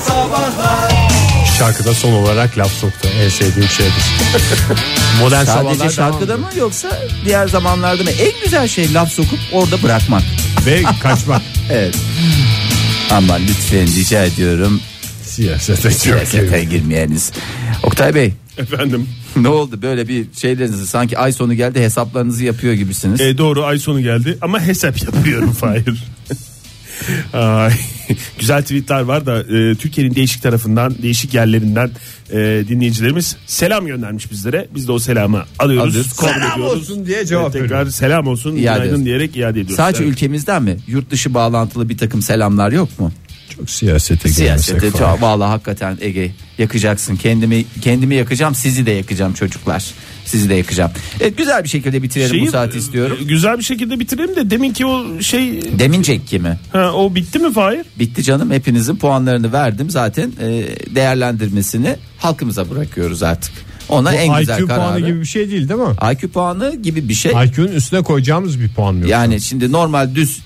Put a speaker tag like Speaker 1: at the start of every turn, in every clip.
Speaker 1: Sabahlar
Speaker 2: Şarkıda son olarak laf soktu. En sevdiğim şeydir. Modern
Speaker 3: Sadece
Speaker 2: sabahlar
Speaker 3: şarkıda
Speaker 2: devam
Speaker 3: mı yoksa diğer zamanlarda mı? En güzel şey laf sokup orada bırakmak.
Speaker 2: ediyor. Ve kaçmak.
Speaker 3: Evet. Ama lütfen rica ediyorum
Speaker 2: Siyasete çok iyi.
Speaker 3: siyasete girmeyeniz. Oktay Bey
Speaker 4: Efendim.
Speaker 3: ne oldu böyle bir şeylerinizi sanki ay sonu geldi hesaplarınızı yapıyor gibisiniz.
Speaker 4: E, doğru ay sonu geldi ama hesap yapıyorum Fahir. Ay, güzel tweetler var da e, Türkiye'nin değişik tarafından değişik yerlerinden e, dinleyicilerimiz selam göndermiş bizlere. Biz de o selamı alıyoruz.
Speaker 3: Alıyoruz.
Speaker 4: kabul
Speaker 2: Selam
Speaker 4: ediyoruz. E,
Speaker 2: olsun diye cevap
Speaker 4: Tekrar
Speaker 2: veriyoruz.
Speaker 4: selam olsun günaydın
Speaker 3: ediyoruz.
Speaker 4: diyerek iade ediyoruz.
Speaker 3: Sadece
Speaker 4: Evet.
Speaker 3: ülkemizden mi? Yurt dışı bağlantılı bir takım selamlar yok mu?
Speaker 2: Çok siyasete
Speaker 3: Siyasete
Speaker 2: girmesek falan.
Speaker 3: çok vallahi hakikaten Ege yakacaksın. Kendimi kendimi yakacağım, sizi de yakacağım çocuklar. Sizi de yakacağım. Evet güzel bir şekilde bitirelim bu saati istiyorum.
Speaker 4: e, Güzel bir şekilde bitirelim de demin ki o şey
Speaker 3: Demincek kimi?
Speaker 4: ha, o bitti mi Fahir?
Speaker 3: Bitti canım. Hepinizin puanlarını verdim. Zaten e, değerlendirmesini halkımıza bırakıyoruz artık. Ona
Speaker 2: Bu
Speaker 3: en güzel
Speaker 2: IQ
Speaker 3: kararı.
Speaker 2: puanı gibi bir şey değil değil mi?
Speaker 3: IQ puanı gibi bir şey.
Speaker 2: IQ'nun üstüne koyacağımız bir puan mı? Yani
Speaker 3: Yani şimdi normal düz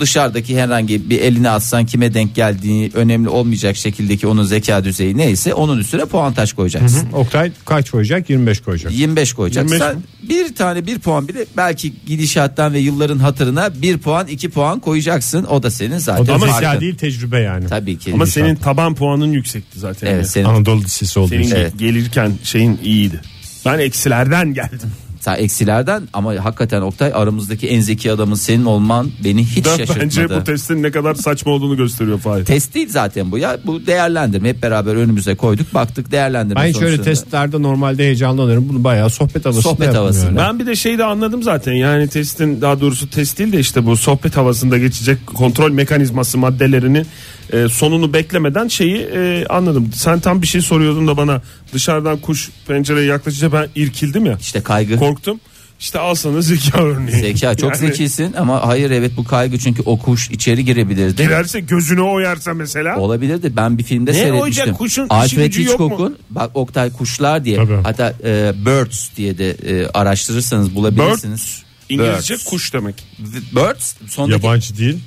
Speaker 3: dışarıdaki herhangi bir elini atsan kime denk geldiği önemli olmayacak şekildeki onun zeka düzeyi neyse onun üstüne puantaj koyacaksın.
Speaker 2: Oktay kaç koyacak? 25 koyacak.
Speaker 3: 25 koyacaksın.
Speaker 4: 25 mi?
Speaker 3: bir tane bir puan bile belki gidişattan ve yılların hatırına bir puan iki puan koyacaksın. O da senin zaten
Speaker 2: O da
Speaker 3: farkın.
Speaker 2: zeka değil tecrübe yani.
Speaker 3: Tabii ki.
Speaker 4: Ama senin taban puanın yüksekti zaten.
Speaker 3: evet şey- senin
Speaker 2: Anadolu Lisesi olduğu
Speaker 4: Senin
Speaker 2: için.
Speaker 3: Evet.
Speaker 4: gelirken şeyin iyiydi. Ben eksilerden geldim.
Speaker 3: sen eksilerden ama hakikaten Oktay aramızdaki en zeki adamın senin olman beni hiç
Speaker 4: Da
Speaker 3: şaşırtmadı.
Speaker 4: bence bu testin ne kadar saçma olduğunu gösteriyor Fahir.
Speaker 3: Test değil zaten bu ya bu değerlendirme hep beraber önümüze koyduk baktık değerlendirme
Speaker 2: Ben hiç öyle
Speaker 3: sonuçlarına.
Speaker 2: testlerde normalde heyecanlanırım. Bunu bayağı sohbet havasında
Speaker 3: Sohbet
Speaker 2: yaptım
Speaker 3: havasında.
Speaker 2: yani.
Speaker 4: Ben bir de şeyi de anladım zaten yani testin daha doğrusu test değil de işte bu sohbet havasında geçecek kontrol mekanizması maddelerini e, sonunu beklemeden şeyi e, anladım. Sen tam bir şey soruyordun da bana dışarıdan kuş pencereye yaklaşınca ben irkildim ya
Speaker 3: İşte kaygı.
Speaker 4: korktum. İşte al sana zeka örneği.
Speaker 3: Zeka çok
Speaker 4: Yani
Speaker 3: zekisin ama hayır evet bu kaygı çünkü o kuş içeri girebilirdi.
Speaker 4: Girerse gözünü oyarsa mesela.
Speaker 3: Olabilirdi. Ben bir filmde
Speaker 4: Ne
Speaker 3: seyretmiştim.
Speaker 4: olacak? Kuşun işi
Speaker 3: Alfred
Speaker 4: gücü yok mu?
Speaker 3: Hitchcock'un bak Oktay kuşlar diye
Speaker 2: Tabii.
Speaker 3: hatta e, birds diye de e, araştırırsanız bulabilirsiniz.
Speaker 4: İngilizce
Speaker 3: Birds.
Speaker 4: kuş demek.
Speaker 3: Birds sondaki
Speaker 2: Yabancı değil.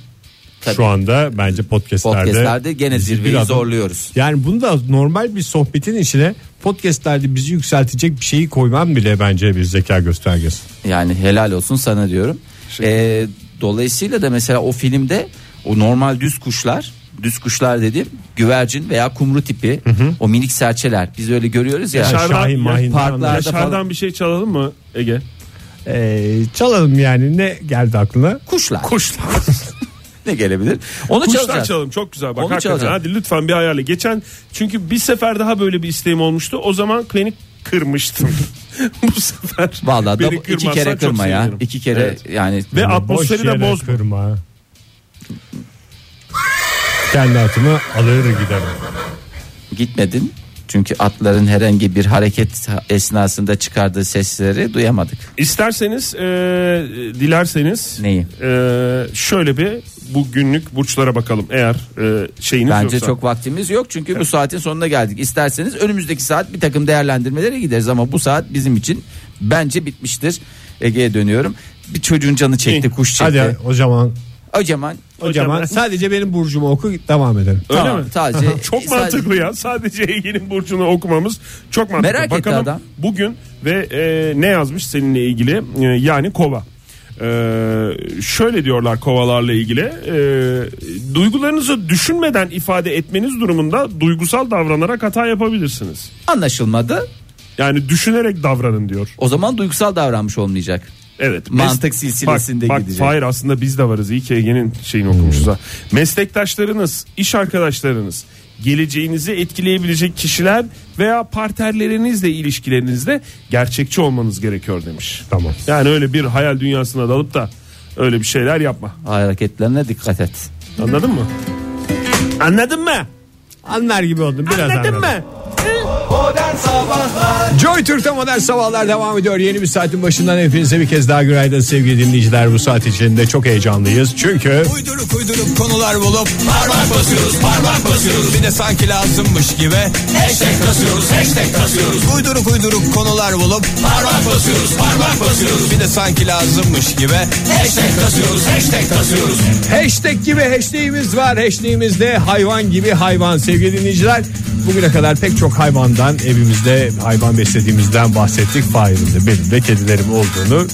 Speaker 3: Tabii.
Speaker 2: Şu anda bence podcastlerde,
Speaker 3: podcastlerde gene
Speaker 2: bizi
Speaker 3: zirveyi
Speaker 2: bir adım-
Speaker 3: zorluyoruz.
Speaker 2: Yani bunu da normal bir sohbetin içine podcastlerde bizi yükseltecek bir şeyi koymam bile bence bir zeka göstergesi.
Speaker 3: Yani helal olsun sana diyorum. E, dolayısıyla da mesela o filmde o normal düz kuşlar düz kuşlar dediğim güvercin veya kumru tipi o minik serçeler biz öyle görüyoruz ya.
Speaker 4: Yaşar- Dışarıdan-
Speaker 2: Şahin Mahin
Speaker 3: parklarda-
Speaker 2: anlar.
Speaker 4: Yaşar'dan
Speaker 3: falan.
Speaker 4: bir şey çalalım mı Ege?
Speaker 2: Ee, çalalım yani ne geldi aklına?
Speaker 3: Kuşlar.
Speaker 4: Kuşlar.
Speaker 3: ne gelebilir? Onu
Speaker 4: Kuşlar
Speaker 3: çalacağız.
Speaker 4: çalalım çok güzel bak
Speaker 3: Onu
Speaker 4: hakikaten
Speaker 3: çalacağım.
Speaker 4: hadi lütfen bir ayarla. Geçen çünkü bir sefer daha böyle bir isteğim olmuştu. O zaman beni kırmıştım. Bu sefer
Speaker 3: Vallahi da
Speaker 4: beni
Speaker 3: bu- iki
Speaker 4: kırmazsan
Speaker 3: kere
Speaker 4: çok
Speaker 3: kırma ya.
Speaker 4: sevinirim.
Speaker 3: İki kere
Speaker 4: Evet.
Speaker 3: yani
Speaker 4: Ve
Speaker 2: Yani
Speaker 4: atmosferi
Speaker 2: boş
Speaker 4: de
Speaker 2: yere
Speaker 4: bozma.
Speaker 2: kırma. Kendi atımı alır giderim.
Speaker 3: gitmedin. Çünkü atların herhangi bir hareket esnasında çıkardığı sesleri duyamadık.
Speaker 4: İsterseniz e, dilerseniz
Speaker 3: Neyi?
Speaker 4: e, şöyle bir bugünlük burçlara bakalım eğer e, şeyiniz
Speaker 3: Bence
Speaker 4: yoksa.
Speaker 3: çok vaktimiz yok çünkü bu saatin sonuna geldik. İsterseniz önümüzdeki saat bir takım değerlendirmelere gideriz ama bu saat bizim için bence bitmiştir. Ege'ye dönüyorum. Bir çocuğun canı çekti, kuş çekti.
Speaker 2: Hadi o zaman
Speaker 3: O zaman
Speaker 2: o zaman sadece benim burcumu oku devam edelim.
Speaker 4: Öyle
Speaker 3: tamam,
Speaker 4: mi?
Speaker 3: sadece
Speaker 4: Çok mantıklı ya. Sadece Ege'nin burcunu okumamız çok mantıklı.
Speaker 3: Merak etti
Speaker 4: Bakalım
Speaker 3: adam.
Speaker 4: bugün ve e, ne yazmış seninle ilgili E, yani kova. E, şöyle diyorlar kovalarla ilgili e, duygularınızı düşünmeden ifade etmeniz durumunda duygusal davranarak hata yapabilirsiniz.
Speaker 3: anlaşılmadı.
Speaker 4: Yani düşünerek davranın diyor.
Speaker 3: O zaman duygusal davranmış olmayacak.
Speaker 4: Evet.
Speaker 3: Mantık
Speaker 4: Mes-
Speaker 3: silsilesinde
Speaker 4: bak,
Speaker 3: gidecek.
Speaker 4: Bak hayır aslında biz de varız. İyi ki Ege'nin şeyini okumuşuz ha. Meslektaşlarınız, iş arkadaşlarınız, geleceğinizi etkileyebilecek kişiler veya partnerlerinizle ilişkilerinizde gerçekçi olmanız gerekiyor demiş.
Speaker 2: Tamam.
Speaker 4: Yani öyle bir hayal dünyasına dalıp da öyle bir şeyler yapma.
Speaker 3: Hareketlerine dikkat et.
Speaker 4: Anladın mı? Anladın mı?
Speaker 2: Anlar gibi oldum biraz
Speaker 4: Anladın
Speaker 2: anladım.
Speaker 4: mı? Hı?
Speaker 1: Modern Sabahlar
Speaker 2: Joy Türk'te modern sabahlar devam ediyor. Yeni bir saatin başından hepinize bir kez daha günaydın sevgili dinleyiciler. Bu saat içinde çok heyecanlıyız. Çünkü
Speaker 1: Uyduruk uydurup konular bulup Parmak basıyoruz parmak basıyoruz Bir de sanki lazımmış gibi Hashtag kasıyoruz hashtag kasıyoruz Uyduruk uyduruk konular bulup Parmak basıyoruz parmak basıyoruz Bir de sanki lazımmış gibi Hashtag kasıyoruz hashtag kasıyoruz
Speaker 2: hashtag gibi hashtagimiz var. Hashtagimizde hayvan gibi hayvan sevgili dinleyiciler. Bugüne kadar pek çok hayvandan evimizde hayvan beslediğimizden bahsettik. Fahir'in de benim de kedilerim olduğunu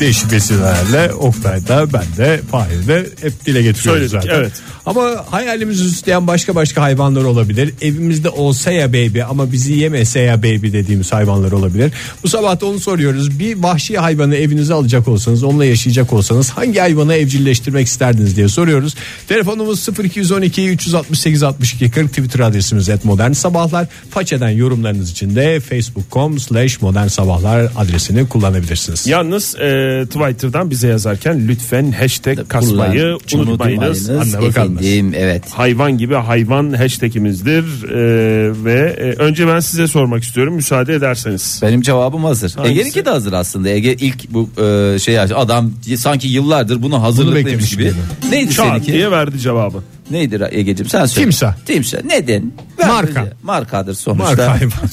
Speaker 2: değişik vesilelerle Oktay da ben de Fahir de hep dile
Speaker 4: Söyledik,
Speaker 2: getiriyoruz zaten.
Speaker 4: evet.
Speaker 2: Ama hayalimizi süsleyen başka başka hayvanlar olabilir. Evimizde olsa ya baby ama bizi yemese ya baby dediğimiz hayvanlar olabilir. Bu sabah da onu soruyoruz. Bir vahşi hayvanı evinize alacak olsanız, onunla yaşayacak olsanız hangi hayvanı evcilleştirmek isterdiniz diye soruyoruz. Telefonumuz 0212 368 62 40 Twitter adresimiz @modernsabahlar. modern sabahlar. Façeden yorumlarınız için de facebook.com slash modern sabahlar adresini kullanabilirsiniz.
Speaker 4: Yalnız e, Twitter'dan bize yazarken lütfen hashtag kasmayı
Speaker 3: Kullan-
Speaker 4: unutmayınız.
Speaker 2: anlamı kalmaz.
Speaker 3: Efendim, evet.
Speaker 4: Hayvan gibi hayvan hashtagimizdir E, ve e, önce ben size sormak istiyorum müsaade ederseniz.
Speaker 3: Benim cevabım hazır.
Speaker 4: Hangisi?
Speaker 3: Ege'ninki de hazır aslında. Ege ilk bu e, şey adam sanki yıllardır buna hazırlıklıymış
Speaker 2: beklemiş
Speaker 3: gibi. Neydi
Speaker 4: Çağat
Speaker 3: seninki?
Speaker 4: diye verdi cevabı.
Speaker 3: Neydi Ege'cim sen söyle.
Speaker 2: Timsah.
Speaker 3: Timsah. Neden? Ver
Speaker 2: Marka.
Speaker 3: bize. Markadır sonuçta.
Speaker 2: Marka
Speaker 3: Marka,
Speaker 2: hayvan.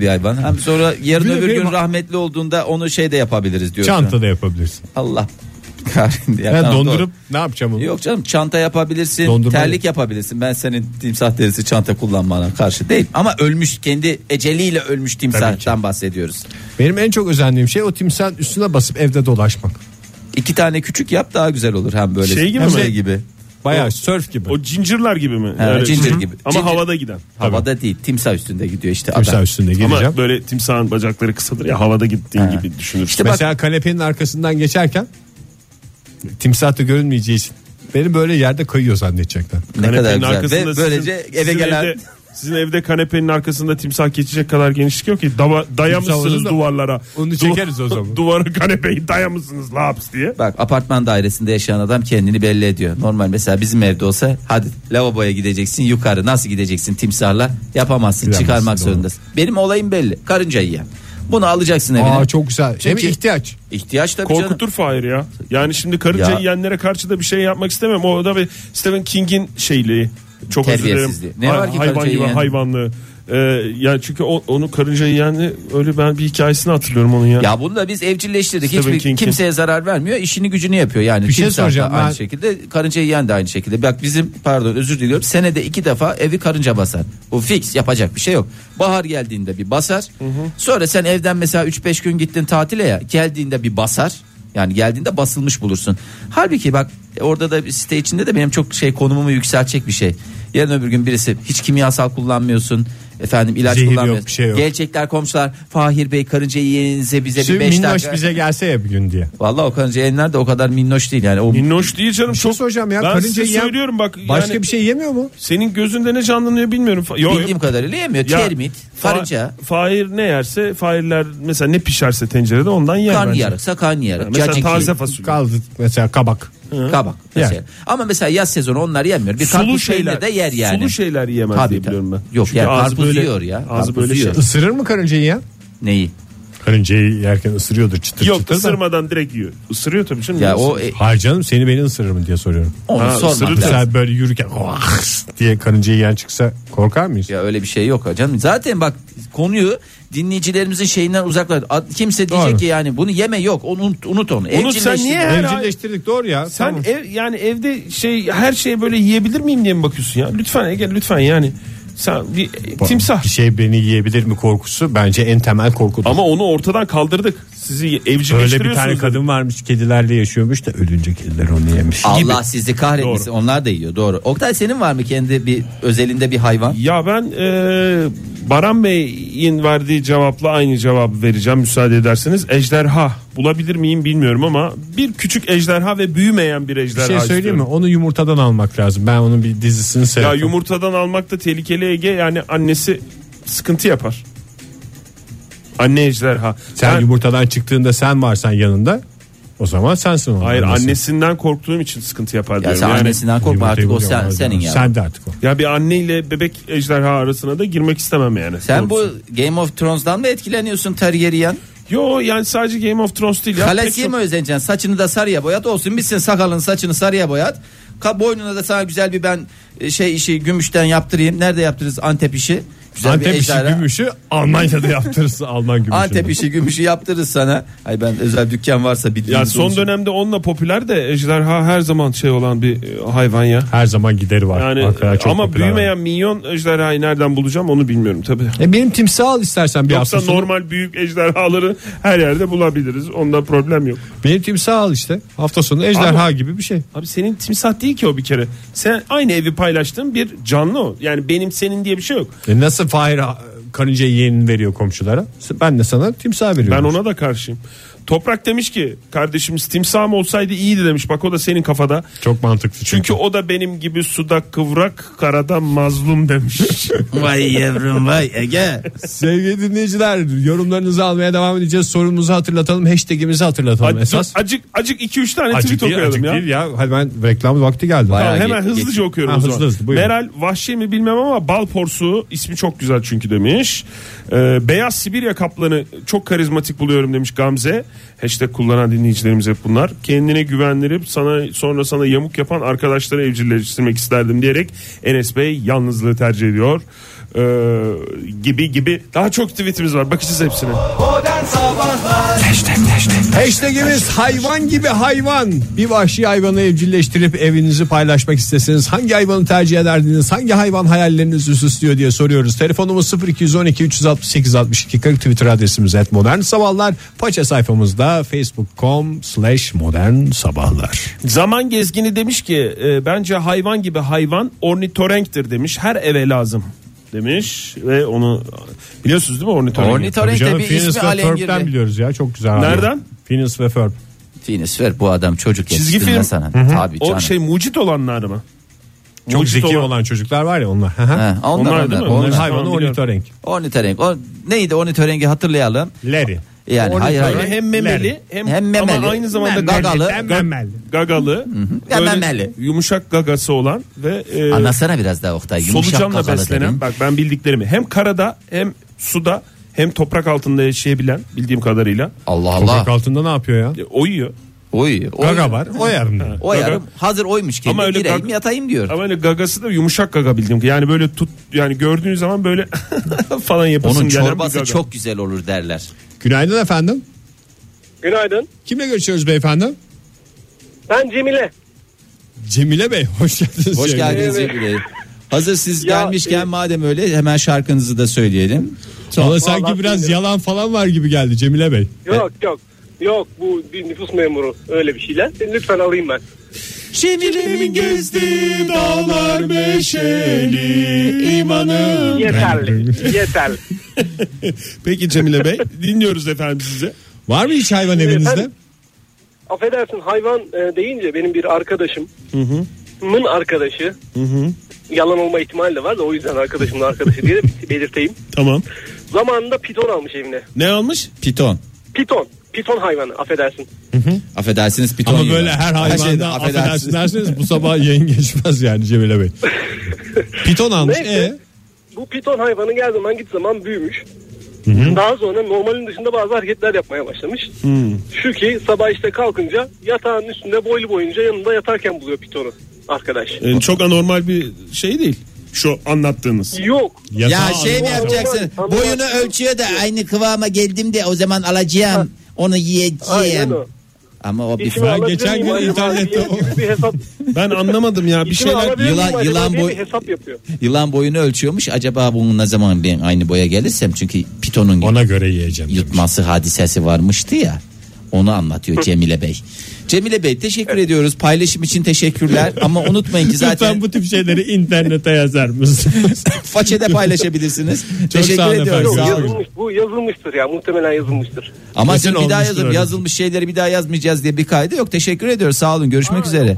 Speaker 3: bir hayvan. Hem sonra yarın
Speaker 2: Bir de
Speaker 3: öbür gün
Speaker 2: benim-
Speaker 3: rahmetli olduğunda onu şey de yapabiliriz diyorsun.
Speaker 2: Çantada yapabilirsin.
Speaker 3: Allah kahretsin. Ya,
Speaker 2: Ben
Speaker 3: tamam,
Speaker 2: dondurup
Speaker 3: doğru.
Speaker 2: ne yapacağım onu?
Speaker 3: Yok canım çanta yapabilirsin,
Speaker 2: Dondurma-
Speaker 3: terlik yapabilirsin. Ben senin timsah derisi çanta kullanmana karşı değil. Ama ölmüş kendi eceliyle ölmüş timsahtan bahsediyoruz.
Speaker 2: Benim en çok özendiğim şey o timsahın üstüne basıp evde dolaşmak.
Speaker 3: İki tane küçük yap daha güzel olur hem böyle
Speaker 4: Şey gibi
Speaker 3: hem
Speaker 4: mi?
Speaker 3: şey gibi.
Speaker 2: Bayağı sörf gibi.
Speaker 4: O cincirler gibi mi?
Speaker 3: He, cincir
Speaker 4: Hı hı.
Speaker 3: gibi.
Speaker 4: Ama
Speaker 3: Cincir-
Speaker 4: havada giden.
Speaker 3: Havada değil timsah üstünde gidiyor işte
Speaker 2: Timsah
Speaker 3: adam.
Speaker 2: üstünde geleceğim.
Speaker 4: Ama böyle timsahın bacakları kısadır ya havada gittiğin gibi düşünürsün.
Speaker 3: İşte bak
Speaker 2: Mesela kanepenin arkasından geçerken timsah da görünmeyeceği için beni böyle yerde kayıyor zannedecekler.
Speaker 3: ne kadar
Speaker 4: Kanepenin
Speaker 3: güzel.
Speaker 4: arkasında
Speaker 3: Ve
Speaker 4: sizin-
Speaker 3: böylece eve
Speaker 4: sizin
Speaker 3: gelen
Speaker 4: evde- sizin evde kanepenin arkasında timsah geçecek kadar genişlik yok ki. Dava,
Speaker 2: Timsah olur
Speaker 4: dayamışsınız
Speaker 2: da-
Speaker 4: duvarlara.
Speaker 2: Onu
Speaker 4: Duva-
Speaker 2: çekeriz o zaman.
Speaker 4: Duvarı kanepeyi dayamışsınız laps diye.
Speaker 3: Bak apartman dairesinde yaşayan adam kendini belli ediyor. Normal mesela bizim evde olsa hadi lavaboya gideceksin yukarı nasıl gideceksin timsahla yapamazsın
Speaker 2: Bilemezsin,
Speaker 3: çıkarmak
Speaker 2: doğru.
Speaker 3: zorundasın. Benim olayım belli karınca yiyen. Bunu alacaksın evine.
Speaker 2: Aa çok güzel. Hem
Speaker 3: Çünkü-
Speaker 2: ihtiyaç.
Speaker 3: İhtiyaç tabii canım.
Speaker 4: Korkutur Fahir ya. Yani şimdi karınca
Speaker 3: Ya.
Speaker 4: yiyenlere karşı da bir şey yapmak istemem. O da bir Stephen King'in şeyliği. Çok özür dilerim.
Speaker 3: Terbiyesizliği. Ne
Speaker 4: Hay-
Speaker 3: var ki
Speaker 4: hayvan
Speaker 3: karınca
Speaker 4: gibi
Speaker 3: yiyen?
Speaker 4: hayvanlığı. Ee, ya çünkü o, onu karınca yiyenle öyle ben bir hikayesini hatırlıyorum onun ya.
Speaker 3: Ya bunu da biz evcilleştirdik.
Speaker 4: Stephen
Speaker 3: Hiçbir
Speaker 4: King'in.
Speaker 3: kimseye zarar vermiyor. İşini gücünü yapıyor. Yani
Speaker 2: Bir şey
Speaker 3: timsah da
Speaker 2: soracağım
Speaker 3: aynı
Speaker 2: ben.
Speaker 3: şekilde karınca yiyen de aynı şekilde. Bak bizim pardon özür diliyorum. Senede iki defa evi karınca basar. Bu fix yapacak bir şey yok. Bahar geldiğinde bir basar. Sonra sen evden mesela 3-5 gün gittin tatile ya. Geldiğinde bir basar. Yani geldiğinde basılmış bulursun. Halbuki bak orada da bir site içinde de benim çok şey konumumu yükseltecek bir şey. Yarın öbür gün birisi hiç kimyasal kullanmıyorsun. Efendim ilaç
Speaker 2: Zehir yok,
Speaker 3: kullanmıyorsun.
Speaker 2: bir şey yok.
Speaker 3: Gelecekler komşular Fahir Bey karınca yiyenize bize
Speaker 4: Şey,
Speaker 3: bir
Speaker 2: Şimdi
Speaker 3: 5
Speaker 2: minnoş
Speaker 3: dakika.
Speaker 2: bize gelse ya bir gün diye.
Speaker 3: Vallahi o karınca yeniler de o kadar minnoş değil yani. O
Speaker 4: Minnoş değil canım.
Speaker 2: Çok
Speaker 4: Çok
Speaker 2: şey soracağım ya.
Speaker 4: Ben
Speaker 2: karınca
Speaker 4: size
Speaker 2: yiyen
Speaker 4: söylüyorum bak.
Speaker 2: başka
Speaker 4: yani
Speaker 2: bir şey yemiyor mu?
Speaker 4: Senin gözünde ne canlanıyor bilmiyorum. Fa- Yo, yo.
Speaker 3: bildiğim kadarıyla yemiyor.
Speaker 4: Ya,
Speaker 3: Termit,
Speaker 4: fa-
Speaker 3: karınca,
Speaker 4: Fahir ne yerse fahirler mesela ne pişerse tencerede ondan yer
Speaker 3: karnı
Speaker 4: bence.
Speaker 3: yarıksa karnı yarık.
Speaker 4: Mesela
Speaker 3: caciki,
Speaker 4: taze fasulye.
Speaker 2: Kaldı mesela kabak.
Speaker 3: kabak mesela.
Speaker 2: Yer.
Speaker 3: Ama mesela yaz sezonu onlar yemiyor. Bir
Speaker 4: sulu
Speaker 3: E, karpuz
Speaker 4: şeyler
Speaker 3: şeyler de yer yani.
Speaker 4: Sulu şey- şeyler yiyemez
Speaker 3: Tabii,
Speaker 4: diye
Speaker 3: tabii.
Speaker 4: biliyorum ben.
Speaker 3: Yok,
Speaker 4: Çünkü
Speaker 3: yer
Speaker 4: ağzı
Speaker 3: karpuz
Speaker 4: böyle-
Speaker 3: yiyor ya,
Speaker 4: Ağzı
Speaker 3: karpuz
Speaker 4: böyle şey.
Speaker 3: yiyor.
Speaker 2: Isırır mı karınca yiyen?
Speaker 3: Neyi?
Speaker 2: Karıncayı yerken ısırıyordur çıtır
Speaker 4: Yok
Speaker 2: çıtır da.
Speaker 4: ısırmadan direkt yiyor. Isırıyor tabii canım.
Speaker 3: Ya o e,
Speaker 2: Hayır canım seni beni ısırır mı diye soruyorum.
Speaker 3: onu
Speaker 4: şey. Ha, şey.
Speaker 3: sormak
Speaker 4: ısırır
Speaker 3: lazım.
Speaker 2: Mesela böyle yürürken "Ah!" diye karınca yiyen çıksa korkar mıyız?
Speaker 3: Ya öyle bir şey yok hocam. Zaten bak konuyu dinleyicilerimizin şeyinden uzaklar. A- Kimse diyecek
Speaker 2: Doğru.
Speaker 3: ki yani bunu yeme yok. Onu unut, unut onu.
Speaker 4: Unut sen
Speaker 3: Evcilleştir.
Speaker 4: niye? Her ay-
Speaker 2: Evcilleştirdik doğru ya.
Speaker 4: Sen e-
Speaker 2: Tamam.
Speaker 4: ev yani evde şey her şeye böyle yiyebilir miyim diye mi bakıyorsun ya? Lütfen Ege lütfen yani. Sen bir timsah.
Speaker 2: Bir şey beni yiyebilir mi korkusu bence en temel korkudur.
Speaker 4: Ama onu ortadan kaldırdık. Sizi evcilleştiriyorsunuz.
Speaker 2: Böyle bir tane
Speaker 4: dedi.
Speaker 2: kadın varmış kedilerle yaşıyormuş da ölünce kediler onu yemiş.
Speaker 3: Allah sizi kahretmesin. Onlar da yiyor doğru. Oktay senin var mı kendi bir özelinde bir hayvan?
Speaker 4: Ya ben e, Baran Bey'in verdiği cevapla aynı cevabı vereceğim müsaade ederseniz. Ejderha bulabilir miyim bilmiyorum ama bir küçük ejderha ve büyümeyen bir
Speaker 2: Bir
Speaker 4: ejderha
Speaker 2: şey söyleyeyim mi?
Speaker 4: istiyorum.
Speaker 2: Onu yumurtadan almak lazım. Ben onun bir dizisini seyrettim.
Speaker 4: Ya yumurtadan almak da tehlikeli Ege yani annesi sıkıntı yapar. Anne ejderha.
Speaker 2: sen
Speaker 4: Ben-
Speaker 2: yumurtadan çıktığında sen varsan yanında O zaman sensin onun
Speaker 4: Hayır
Speaker 2: annesi.
Speaker 4: annesinden korktuğum için sıkıntı yapar
Speaker 3: Ya
Speaker 4: diyorum.
Speaker 3: sen
Speaker 4: yani,
Speaker 3: annesinden korkma artık o
Speaker 2: Yumurtayı
Speaker 3: sen,
Speaker 2: vuruyor
Speaker 3: senin
Speaker 2: oradan.
Speaker 3: ya. Sen,
Speaker 2: Sen de artık o.
Speaker 4: Ya bir anneyle bebek ejderha arasına da girmek istemem yani.
Speaker 3: bu
Speaker 4: Doğrusu.
Speaker 3: Game of Thrones'dan mı etkileniyorsun Targaryen?
Speaker 4: Yo yani sadece Game of Thrones değil. ya. Pek
Speaker 3: Kalesiye
Speaker 4: çok-
Speaker 3: mi özeneceksin? Saçını da sarıya boyat olsun bitsin sakalın saçını sarıya boyat. Ka boynuna da sana güzel bir ben e, şey işi gümüşten yaptırayım. Nerede yaptırırız Antep işi? Güzel bir
Speaker 2: Antep işi
Speaker 3: ejderha.
Speaker 2: gümüşü Almanya'da yaptırırsın Alman gümüşü.
Speaker 3: Antep işi gümüşü yaptırırız sana. Ay ben özel dükkan varsa bildiğin.
Speaker 4: Ya son
Speaker 3: olsun.
Speaker 4: dönemde onunla popüler de ejderha her zaman şey olan bir e, hayvan ya.
Speaker 2: Her zaman gideri var.
Speaker 4: Yani
Speaker 2: Hakikaten çok
Speaker 4: ama
Speaker 2: popüler.
Speaker 4: büyümeyen minyon ejderhayı nereden bulacağım onu bilmiyorum tabii.
Speaker 2: E benim timsah al istersen bir
Speaker 4: Yoksa
Speaker 2: hafta sonu.
Speaker 4: normal büyük ejderhaları her yerde bulabiliriz. Onda problem yok.
Speaker 2: Benim timsah al işte. Hafta sonu ejderha gibi bir şey.
Speaker 4: Abi senin timsah değil ki o bir kere. Sen aynı evi paylaştığın bir canlı o. Yani benim senin diye bir şey yok.
Speaker 2: E nasıl Fahir e, karınca yeğenini veriyor komşulara? Ben de sana timsah
Speaker 4: Ben
Speaker 2: veriyorum.
Speaker 4: ona da karşıyım. Toprak demiş ki kardeşimiz timsahım olsaydı iyiydi demiş. Bak o da senin kafada.
Speaker 2: Çok mantıklı çünkü.
Speaker 4: Çünkü o da benim gibi suda kıvrak karada mazlum demiş.
Speaker 3: Vay yavrum vay Ege.
Speaker 2: Sevgili dinleyiciler yorumlarınızı almaya devam edeceğiz. Sorumuzu hatırlatalım. Hashtagimizi hatırlatalım esas.
Speaker 4: Dur, acık acık 2-3 tane
Speaker 2: Acık
Speaker 4: tweet
Speaker 2: değil,
Speaker 4: okuyalım
Speaker 2: acık
Speaker 4: ya.
Speaker 2: değil ya. Hadi ben reklam vakti geldi.
Speaker 3: Bayağı
Speaker 4: Tamam,
Speaker 3: Ge-
Speaker 4: hemen
Speaker 3: geç-
Speaker 4: hızlıca okuyorum
Speaker 2: Ha,
Speaker 4: o zaman.
Speaker 2: hızlı hızlı, buyurun.
Speaker 4: Meral vahşi mi bilmem ama bal porsuğu ismi çok güzel çünkü demiş. Ee, beyaz Sibirya kaplanı çok karizmatik buluyorum demiş Gamze. Hashtag kullanan dinleyicilerimiz hep bunlar. Kendine güvendirip sana sonra sana yamuk yapan arkadaşları evcilleştirmek isterdim diyerek Enes Bey yalnızlığı tercih ediyor. Ee, gibi gibi daha çok tweetimiz var bakacağız hepsine.
Speaker 2: Hashtagimiz hayvan gibi hayvan. Bir vahşi hayvanı evcilleştirip evinizi paylaşmak isteseniz hangi hayvanı tercih ederdiniz? Hangi hayvan hayallerinizi süslüyor diye soruyoruz. Telefonumuz 0212 368 62 40 Twitter adresimiz et modern sabahlar. Paça sayfamızda facebook.com slash modern sabahlar.
Speaker 4: Zaman gezgini demiş ki e, bence hayvan gibi hayvan ornitorenktir demiş. Her eve lazım demiş ve onu biliyorsunuz değil mi ornitorenk?
Speaker 3: Ornitorenk de bir ismi alengirli.
Speaker 2: biliyoruz ya çok güzel.
Speaker 4: Nereden?
Speaker 2: Phineas ve Ferb.
Speaker 3: Finis ver bu adam çocuk
Speaker 4: Çizgi
Speaker 3: yetiştirme
Speaker 4: film.
Speaker 3: sana. Tabii
Speaker 4: o
Speaker 3: canım.
Speaker 4: şey mucit olanlar mı?
Speaker 2: Çok
Speaker 4: Mucit
Speaker 2: zeki
Speaker 4: olan-
Speaker 2: olan çocuklar var ya onlar. Hı hı.
Speaker 3: Ha, onlar,
Speaker 4: Onlar
Speaker 3: onlar,
Speaker 4: değil mi?
Speaker 2: Onların
Speaker 4: Onlar-
Speaker 2: hayvanı
Speaker 4: Tamam, biliyorum.
Speaker 2: ornitorenk.
Speaker 3: Ornitorenk. O, neydi ornitorengi hatırlayalım.
Speaker 2: Larry.
Speaker 3: Yani hayır
Speaker 4: Ornitorenk
Speaker 3: hayır.
Speaker 4: hem memeli hem,
Speaker 3: Hem memeli.
Speaker 4: ama aynı zamanda
Speaker 3: Memeli. Gagalı.
Speaker 4: gag- gagalı.
Speaker 3: Ya
Speaker 4: böyle
Speaker 3: memeli.
Speaker 4: Yumuşak gagası olan ve e,
Speaker 3: Anlatsana biraz daha Oktay. Yumuşak
Speaker 4: solucanla
Speaker 3: kafalı
Speaker 4: beslenen
Speaker 3: dedin.
Speaker 4: bak ben bildiklerimi hem karada hem suda hem toprak altında yaşayabilen bildiğim kadarıyla
Speaker 3: Allah
Speaker 2: Toprak
Speaker 3: Allah.
Speaker 2: altında ne yapıyor ya?
Speaker 4: e, oyuyor.
Speaker 3: Oy. oy.
Speaker 2: Gaga var o yarın.
Speaker 3: O yarım hazır oymuş ki.
Speaker 4: Ama öyle
Speaker 3: Gireyim
Speaker 4: gag-
Speaker 3: yatayım diyor.
Speaker 4: Ama öyle gagası da yumuşak gaga bildiğim. ki. Yani böyle tut yani gördüğün zaman böyle falan yapasın
Speaker 3: Onun
Speaker 4: gelen bir
Speaker 3: çorbası
Speaker 4: gaga. Şey-
Speaker 3: çok güzel olur derler.
Speaker 2: Günaydın efendim.
Speaker 5: Günaydın.
Speaker 2: Kimle görüşüyoruz beyefendi?
Speaker 5: Ben Cemile.
Speaker 2: Cemile Bey hoş geldiniz.
Speaker 3: Hoş
Speaker 2: Cemile
Speaker 3: geldiniz Cemil Bey. Hazır siz
Speaker 5: Ya,
Speaker 3: gelmişken
Speaker 5: e-
Speaker 3: madem öyle hemen şarkınızı da söyleyelim.
Speaker 2: Bey. Valla sanki
Speaker 5: Vallahi
Speaker 2: biraz
Speaker 5: bilmiyorum.
Speaker 2: yalan falan var gibi geldi Cemile Bey.
Speaker 5: Yok yok. Yok bu bir nüfus memuru öyle bir şeyler. E, Lütfen alayım ben.
Speaker 3: Cemile'nin gezdiği dağlar
Speaker 4: meşeli imanı.
Speaker 5: Yeterli. yeterli.
Speaker 4: Peki Cemile Bey dinliyoruz efendim sizi.
Speaker 2: Var mı hiç hayvan evinizde?
Speaker 5: efendim? Affedersin hayvan e, deyince benim bir arkadaşım. Mın arkadaşı. Yalan olma ihtimali de var da o yüzden arkadaşımın arkadaşı diye de belirteyim.
Speaker 4: Tamam.
Speaker 5: Zamanında piton almış evine.
Speaker 4: Ne almış?
Speaker 3: Piton.
Speaker 5: Piton. Piton hayvanı affedersin.
Speaker 3: Affedersiniz piton.
Speaker 2: Ama
Speaker 3: yiyorlar.
Speaker 2: böyle her
Speaker 3: şeyde
Speaker 2: hayvanda affedersin derseniz bu sabah yayın geçmez yani Cemile Bey. Piton almış.
Speaker 5: Neyse.
Speaker 2: E,
Speaker 5: Bu piton hayvanı gel zaman git zaman büyümüş. Daha sonra normalin dışında bazı hareketler yapmaya başlamış. Şu ki sabah işte kalkınca yatağın üstünde boylu boyunca yanında yatarken buluyor pitonu arkadaş.
Speaker 4: Ee, çok anormal bir şey değil. Şu anlattığınız.
Speaker 5: Yok.
Speaker 3: Ya
Speaker 2: E, yatağı
Speaker 3: şey mi
Speaker 2: almış.
Speaker 3: yapacaksın?
Speaker 5: Tamam.
Speaker 3: Boyunu ölçüyor da aynı kıvama geldim de o zaman alacağım. Onu
Speaker 5: Aynen
Speaker 3: yiyeceğim.
Speaker 5: o.
Speaker 3: Ama o bir
Speaker 5: İçime alabilir
Speaker 2: geçen
Speaker 5: miyim
Speaker 2: gün
Speaker 5: acaba
Speaker 2: internette
Speaker 5: diye bir hesap.
Speaker 4: Ben anlamadım ya bir
Speaker 2: şey-
Speaker 5: İçime
Speaker 4: şeyler.
Speaker 5: alabilir miyim
Speaker 3: Yılan-
Speaker 5: acaba
Speaker 3: yılan
Speaker 5: diye
Speaker 3: boy-
Speaker 5: bir hesap yapıyor.
Speaker 3: Yılan boyunu ölçüyormuş. Acaba bunun ne zaman ben aynı boya gelirsem çünkü pitonun
Speaker 2: Ona göre yiyeceğim. demiş.
Speaker 3: yutması hadisesi varmıştı ya. Onu anlatıyor Cemile Bey. Cemile Bey teşekkür ediyoruz. Paylaşım için teşekkürler. Ama unutmayın ki zaten
Speaker 2: Lütfen bu tip şeyleri internete yazar mısınız?
Speaker 3: façede paylaşabilirsiniz.
Speaker 2: sağ
Speaker 3: teşekkür
Speaker 2: olun
Speaker 3: ediyoruz.
Speaker 5: Yok,
Speaker 2: Sağ olun.
Speaker 5: yazılmış, bu yazılmıştır ya muhtemelen yazılmıştır.
Speaker 3: Ama
Speaker 2: Kesin
Speaker 3: siz bir daha
Speaker 2: olmuştur
Speaker 3: yazın.
Speaker 2: öyle.
Speaker 3: Yazılmış şeyleri bir daha yazmayacağız diye bir kaydı yok. Teşekkür ediyoruz. Sağ olun. Görüşmek üzere.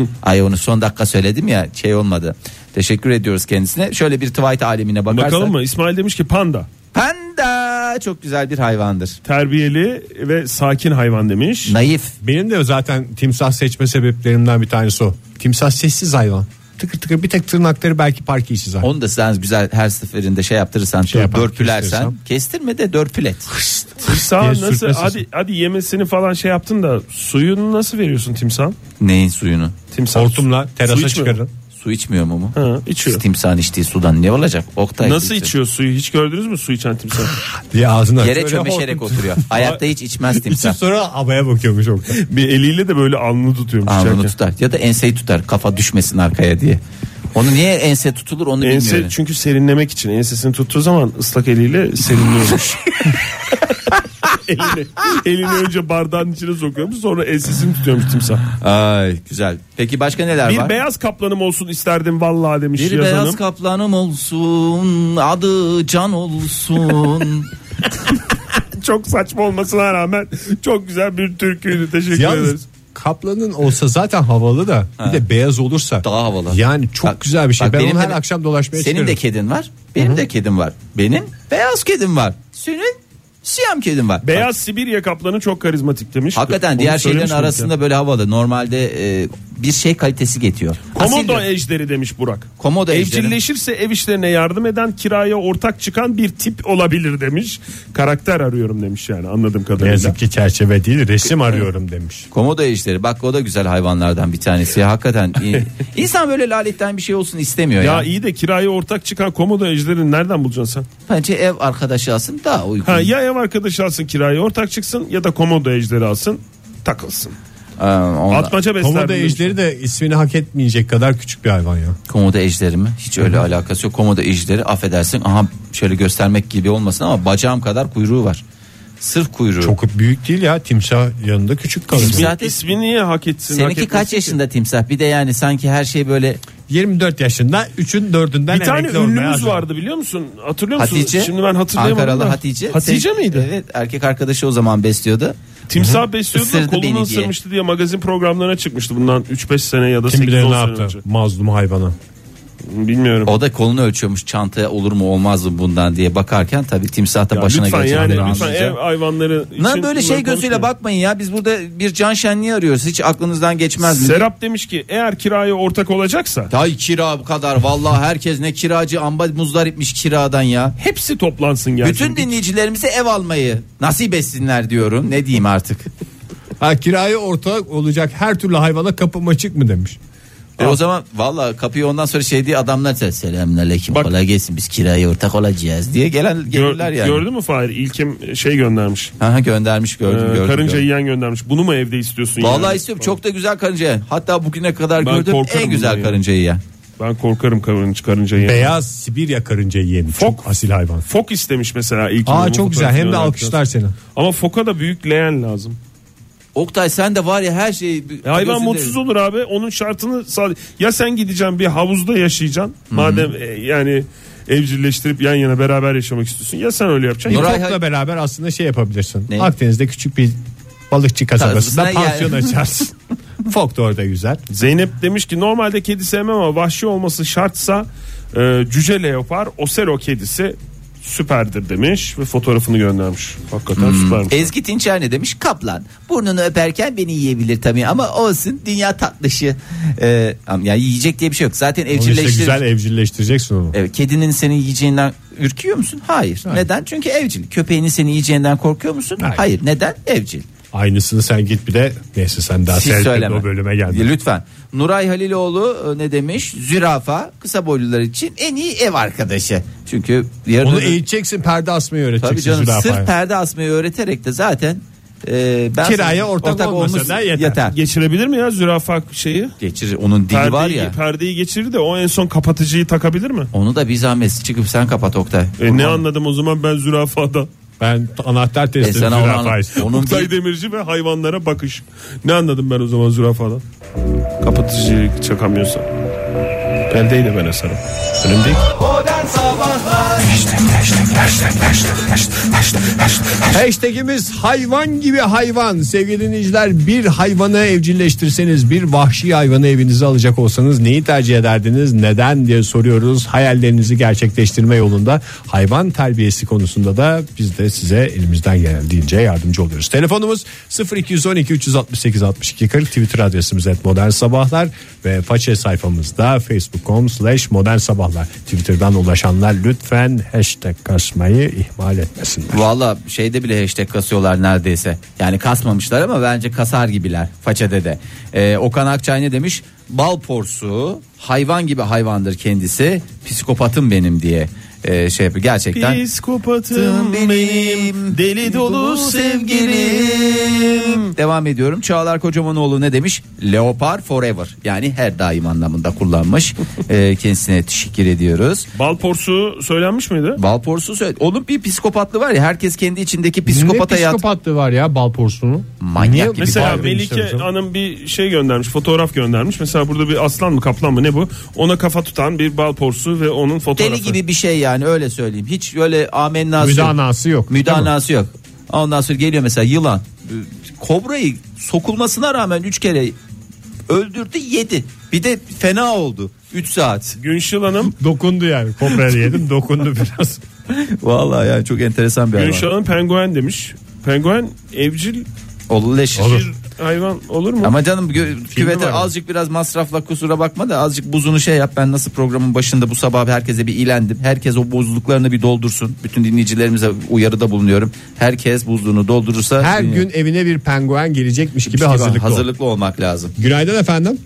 Speaker 3: Ay onu son dakika söyledim ya şey olmadı. Teşekkür ediyoruz kendisine. Şöyle bir Twilight alemine bakarsak.
Speaker 4: Bakalım mı? İsmail demiş ki panda.
Speaker 3: Panda. Aa çok güzel bir hayvandır.
Speaker 4: Terbiyeli ve sakin hayvan demiş.
Speaker 3: Naif.
Speaker 2: Benim de zaten timsah seçme sebeplerimden bir tanesi o. Timsah sessiz hayvan. Tıkır tıkır bir tek tırnakları belki parki işi zaten.
Speaker 3: Onu da sen güzel her seferinde şey yaptırırsan,
Speaker 2: Şey yapar,
Speaker 3: dörpülersen.
Speaker 2: kestirsem.
Speaker 3: Kestirme de dörpület.
Speaker 4: Timsah
Speaker 2: diye
Speaker 4: nasıl
Speaker 2: sürtmesi.
Speaker 4: hadi hadi yemesini falan şey yaptın da suyunu nasıl veriyorsun timsah?
Speaker 3: Neyin suyunu?
Speaker 4: Timsah.
Speaker 2: Hortumla
Speaker 4: Su
Speaker 2: terasa
Speaker 4: içmiyor.
Speaker 2: çıkarın.
Speaker 3: Su içmiyor mu mu?
Speaker 4: Ha, içiyor.
Speaker 3: Timsahın içtiği sudan ne olacak? Oktay
Speaker 4: Nasıl
Speaker 3: içiyor?
Speaker 4: içiyor suyu? Hiç gördünüz mü su içen timsah?
Speaker 2: Diye ağzına
Speaker 3: Yere
Speaker 2: Böyle
Speaker 3: çömeşerek
Speaker 2: hortum-
Speaker 3: oturuyor. Hayatta hiç içmez timsah.
Speaker 2: İçip sonra havaya bakıyormuş Oktay.
Speaker 4: bir eliyle de böyle alnını tutuyormuş.
Speaker 3: Alnını
Speaker 4: içerken.
Speaker 3: tutar ya da enseyi tutar kafa düşmesin arkaya diye. Onu niye ense tutulur onu
Speaker 4: Ense
Speaker 3: bilmiyorum.
Speaker 4: çünkü serinlemek için ensesini tuttuğu zaman ıslak eliyle serinliyormuş. elini, elini önce bardağın içine sokuyormuş sonra ensesini tutuyormuş timsah.
Speaker 3: Ay güzel. Peki başka neler
Speaker 4: Bir
Speaker 3: var?
Speaker 4: beyaz kaplanım olsun isterdim vallahi demiş
Speaker 3: bir
Speaker 4: yazanım.
Speaker 3: beyaz kaplanım olsun adı can olsun.
Speaker 4: Çok saçma olmasına rağmen çok güzel bir türküydü. Teşekkür
Speaker 2: Yalnız
Speaker 4: ederiz.
Speaker 2: kaplanın olsa zaten havalı da bir de beyaz olursa
Speaker 3: Daha havalı.
Speaker 2: Yani çok
Speaker 3: Bak-
Speaker 2: güzel bir şey.
Speaker 3: bak
Speaker 2: ben
Speaker 3: benim
Speaker 2: onu her
Speaker 3: de-
Speaker 2: akşam dolaşmaya
Speaker 3: Senin de
Speaker 2: çıkarım.
Speaker 3: kedin var benim de kedim var. Benim beyaz kedim var. Senin siyam kedin var. Bak,
Speaker 4: Beyaz Sibirya kaplanı çok karizmatik demiş.
Speaker 3: Hakikaten
Speaker 4: Onu
Speaker 3: diğer şeylerin
Speaker 4: söylemiş miydik
Speaker 3: arasında
Speaker 4: ya?
Speaker 3: böyle havalı. Normalde e, bir şey kalitesi getiriyor.
Speaker 4: Komodo
Speaker 3: Asildir.
Speaker 4: ejderi demiş Burak.
Speaker 2: e-
Speaker 3: Komodo ejderi.
Speaker 4: Evcilleşirse ev işlerine yardım eden kiraya ortak çıkan bir tip olabilir demiş. Karakter arıyorum demiş yani anladığım
Speaker 2: Ne
Speaker 4: kadarıyla.
Speaker 2: yazık ki çerçeve değil resim arıyorum demiş.
Speaker 3: Komodo ejderi. Bak o da güzel hayvanlardan bir tanesi. Hakikaten iyi. insan böyle laletten bir şey olsun istemiyor ya.
Speaker 4: Ya iyi de kiraya ortak çıkan komodo ejderini nereden bulacaksın sen?
Speaker 3: Bence ev arkadaşı alsın daha uygun.
Speaker 4: Ha, ya ev arkadaşı alsın kiraya ortak çıksın ya da komodo ejderi alsın takılsın.
Speaker 3: Ee, ondan-
Speaker 4: Atmaca besler.
Speaker 2: Komodo ejderi de ismini hak etmeyecek kadar küçük bir hayvan ya.
Speaker 3: Komodo ejderi mi? Hiç öyle alakası yok. Komodo ejderi affedersin. Aha şöyle göstermek gibi olmasın ama bacağım kadar kuyruğu var. Sırf kuyruğu.
Speaker 2: Çok büyük değil ya timsah yanında küçük kalır.
Speaker 3: Timsah-
Speaker 4: Zaten ismi niye hak etsin? hak
Speaker 3: Seninki
Speaker 4: etmesin
Speaker 3: kaç
Speaker 4: ki?
Speaker 3: yaşında timsah? Bir de yani sanki her şey böyle
Speaker 2: 24 yaşında 3'ün 4'ünden
Speaker 4: Bir tane ünlümüz vardı biliyor musun? Hatırlıyor musunuz?
Speaker 3: Hatice.
Speaker 4: Şimdi ben hatırlayamadım.
Speaker 3: Ankaralı
Speaker 4: da.
Speaker 3: Hatice.
Speaker 4: Hatice
Speaker 3: Sev-
Speaker 4: miydi?
Speaker 3: Evet erkek arkadaşı o zaman besliyordu.
Speaker 4: Timsah besliyordu da
Speaker 3: Isırdı beni
Speaker 4: kolunu
Speaker 3: diye.
Speaker 4: ısırmıştı diye. magazin programlarına çıkmıştı. Bundan 3-5 sene ya da
Speaker 2: Kim
Speaker 4: 8-10
Speaker 2: bilir
Speaker 4: sene
Speaker 2: ne yaptı
Speaker 4: önce.
Speaker 2: mazlum hayvana.
Speaker 4: Bilmiyorum.
Speaker 3: O da kolunu ölçüyormuş çantaya olur mu olmaz mı bundan diye bakarken tabii timsah da
Speaker 4: Ya
Speaker 3: başına
Speaker 4: lütfen
Speaker 3: gelecek.
Speaker 4: yani
Speaker 3: haberi
Speaker 4: lütfen
Speaker 3: anlayacak.
Speaker 4: ev hayvanları için
Speaker 3: Lan böyle şey
Speaker 4: bunları
Speaker 3: gözüyle
Speaker 4: konuşmayalım.
Speaker 3: bakmayın ya biz burada bir can şenliği arıyoruz hiç aklınızdan geçmez mi?
Speaker 4: Serap demiş ki eğer kiraya ortak olacaksa
Speaker 3: Ay kira bu kadar vallahi herkes ne kiracı amba muzdaripmiş kiradan ya.
Speaker 4: hepsi toplansın gelsin.
Speaker 3: Bütün dinleyicilerimize ev almayı nasip etsinler diyorum. Ne diyeyim artık?
Speaker 2: Ha kiraya ortak olacak her türlü hayvana kapım açık mı demiş.
Speaker 3: E o zaman valla kapıyı ondan sonra şey diye adamlar size selamünaleyküm
Speaker 4: Bak-
Speaker 3: kolay gelsin biz kiraya ortak olacağız diye gelen
Speaker 4: Gör-
Speaker 3: gelirler yani.
Speaker 4: Gördün mü Fahir? İlkim şey göndermiş.
Speaker 3: Aha, göndermiş
Speaker 4: Ee,
Speaker 3: gördüm gördüm.
Speaker 4: karınca
Speaker 3: gördüm.
Speaker 4: yiyen göndermiş. Bunu mu evde istiyorsun?
Speaker 3: Vallahi
Speaker 4: yani?
Speaker 3: istiyorum çok da güzel karınca yiyen. Hatta bugüne kadar
Speaker 4: Ben
Speaker 3: gördüğüm
Speaker 4: korkarım
Speaker 3: en
Speaker 4: bundan
Speaker 3: güzel
Speaker 4: ya.
Speaker 3: karınca yiyen.
Speaker 4: Ben korkarım karınca, karınca yiyen.
Speaker 2: Beyaz Sibirya karıncayı yemiş. Çok
Speaker 4: Fok.
Speaker 2: asil hayvan.
Speaker 4: Fok istemiş mesela ilkim.
Speaker 2: Aa
Speaker 4: Bunun
Speaker 2: çok güzel hem de
Speaker 4: fotoğrafını
Speaker 2: alkışlar
Speaker 4: alacağız.
Speaker 2: seni.
Speaker 4: Ama foka da büyük leğen lazım.
Speaker 3: Oktay sen de var ya her şeyi
Speaker 4: E, hayvan
Speaker 3: gözünde-
Speaker 4: mutsuz olur abi. Onun şartını sadece ya sen gideceksin bir havuzda yaşayacaksın. Madem e, yani evcilleştirip yan yana beraber yaşamak istiyorsun. Ya sen öyle yapacaksın.
Speaker 3: Nuray-
Speaker 4: ya-
Speaker 2: Fokla beraber aslında şey yapabilirsin.
Speaker 3: Ne?
Speaker 2: Akdeniz'de küçük bir balıkçı kasabasında
Speaker 3: Tarzına
Speaker 2: pansiyon açarsın. Fok da orada güzel.
Speaker 4: Zeynep demiş ki normalde kedi sevmem ama vahşi olması şartsa e, cüce leopar osero kedisi süperdir demiş ve fotoğrafını göndermiş. Hakikaten
Speaker 3: Hmm.
Speaker 4: süpermiş.
Speaker 3: Ezgi Tinçer ne demiş? Kaplan. Burnunu öperken beni yiyebilir tabii ama olsun dünya tatlışı. Ee, ama ya yiyecek diye bir şey yok. Zaten
Speaker 2: Onu işte
Speaker 3: evcilleştir.
Speaker 2: güzel evcilleştireceksin onu.
Speaker 3: Evet, kedinin seni yiyeceğinden ürküyor musun? Hayır. Neden? Çünkü evcil. Köpeğinin seni yiyeceğinden korkuyor musun?
Speaker 2: Hayır.
Speaker 3: Hayır. Neden? Evcil.
Speaker 2: Aynısını sen git bir de neyse sen daha
Speaker 3: Siz
Speaker 2: seyretmedin
Speaker 3: söyleme.
Speaker 2: o bölüme geldin.
Speaker 3: Lütfen. Nuray Haliloğlu e, ne demiş? Zürafa kısa boylular için en iyi ev arkadaşı. Çünkü yarın
Speaker 2: Onu
Speaker 3: öbür-
Speaker 2: eğiteceksin perde asmayı öğreteceksin.
Speaker 3: Tabii canım
Speaker 2: zürafaya.
Speaker 3: sırf perde asmayı öğreterek de zaten e, ben
Speaker 2: Kiraya ortak olmasa da yeter.
Speaker 4: Geçirebilir mi ya zürafa şeyi?
Speaker 3: Geçir onun dili
Speaker 4: Perdeyi,
Speaker 3: var ya.
Speaker 4: perdeyi geçirir de o en son kapatıcıyı takabilir mi?
Speaker 3: Onu da bir zahmet çıkıp sen kapat Oktay.
Speaker 4: E, ne anladım o zaman ben zürafadan.
Speaker 2: Ben t- anahtar
Speaker 3: E,
Speaker 2: testi
Speaker 3: sen onu
Speaker 2: zürafa
Speaker 3: anla-
Speaker 2: istedim.
Speaker 3: onun
Speaker 4: Oktay
Speaker 3: bir-
Speaker 4: Demirci ve hayvanlara bakış. Ne anladım ben o zaman zürafadan? Kapatıcıyı çakamıyorsa. Perdeyi de ben asarım. Önemli değil.
Speaker 6: Modern
Speaker 1: Modern Sabahlar
Speaker 2: Hashtagimiz hayvan gibi hayvan. Sevgili dinleyiciler bir hayvanı evcilleştirseniz bir vahşi hayvanı evinize alacak olsanız neyi tercih ederdiniz neden diye soruyoruz. Hayallerinizi gerçekleştirme yolunda hayvan terbiyesi konusunda da biz de size elimizden geldiğince yardımcı oluyoruz. Telefonumuz 0212 368 62 40 Twitter adresimiz et modern sabahlar ve façe sayfamızda facebook.com slash modern sabahlar. Twitter'dan ulaşanlar lütfen hashtag kasmayı ihmal etmesinler.
Speaker 3: Valla şeyde bile hashtag kasıyorlar neredeyse. Yani kasmamışlar ama bence kasar gibiler façede de. Ee, Okan Akçay ne demiş? Bal porsu hayvan gibi hayvandır kendisi. Psikopatım benim diye ee, şey yapıyor. Gerçekten.
Speaker 4: Psikopatım benim deli dolu sevgilim.
Speaker 3: sevgilim. Devam ediyorum. Çağlar Kocamanoğlu ne demiş? Leopar forever. Yani her daim anlamında kullanmış. Ee, kendisine teşekkür ediyoruz.
Speaker 4: Bal porsuğu söylenmiş miydi?
Speaker 3: Bal porsu söyle. Onun bir psikopatlı var ya herkes kendi içindeki psikopat
Speaker 2: ne
Speaker 3: hayat.
Speaker 2: psikopatlığı var ya bal porsunu?
Speaker 3: Manyak
Speaker 2: Niye?
Speaker 3: gibi
Speaker 4: Mesela
Speaker 2: bağırıyor
Speaker 4: Melike
Speaker 2: işte hocam.
Speaker 4: Hanım bir şey göndermiş, fotoğraf göndermiş. Mesela burada bir aslan mı, kaplan mı ne bu? Ona kafa tutan bir bal porsu ve onun fotoğrafı.
Speaker 3: Deli gibi bir şey yani öyle söyleyeyim. Hiç öyle amennası yok.
Speaker 2: Müdanası yok.
Speaker 3: Müdanası yok. Ondan sonra geliyor mesela yılan. Kobrayı sokulmasına rağmen 3 kere öldürdü yedi. Bir de fena oldu. 3 saat.
Speaker 4: Günşil Hanım,
Speaker 2: Dokundu yani. Kobra yedim dokundu biraz.
Speaker 3: Vallahi yani çok enteresan bir
Speaker 4: Günşil
Speaker 3: hayvan.
Speaker 4: Hanım penguen demiş. Penguen evcil
Speaker 3: Olur leşir.
Speaker 4: bir hayvan olur mu?
Speaker 3: Ama canım gö- küvete
Speaker 2: var mı?
Speaker 3: azıcık biraz masrafla kusura bakma da azıcık buzunu şey yap. Ben nasıl programın başında bu sabah herkese bir ilendim. Herkes o buzluklarını bir doldursun. Bütün dinleyicilerimize uyarıda bulunuyorum. Herkes buzluğunu doldurursa
Speaker 2: Her
Speaker 3: dünya-
Speaker 2: gün evine bir penguen gelecekmiş gibi
Speaker 3: gibi
Speaker 2: hazırlıklı. ol.
Speaker 3: hazırlıklı olmak lazım.
Speaker 2: Günaydın efendim.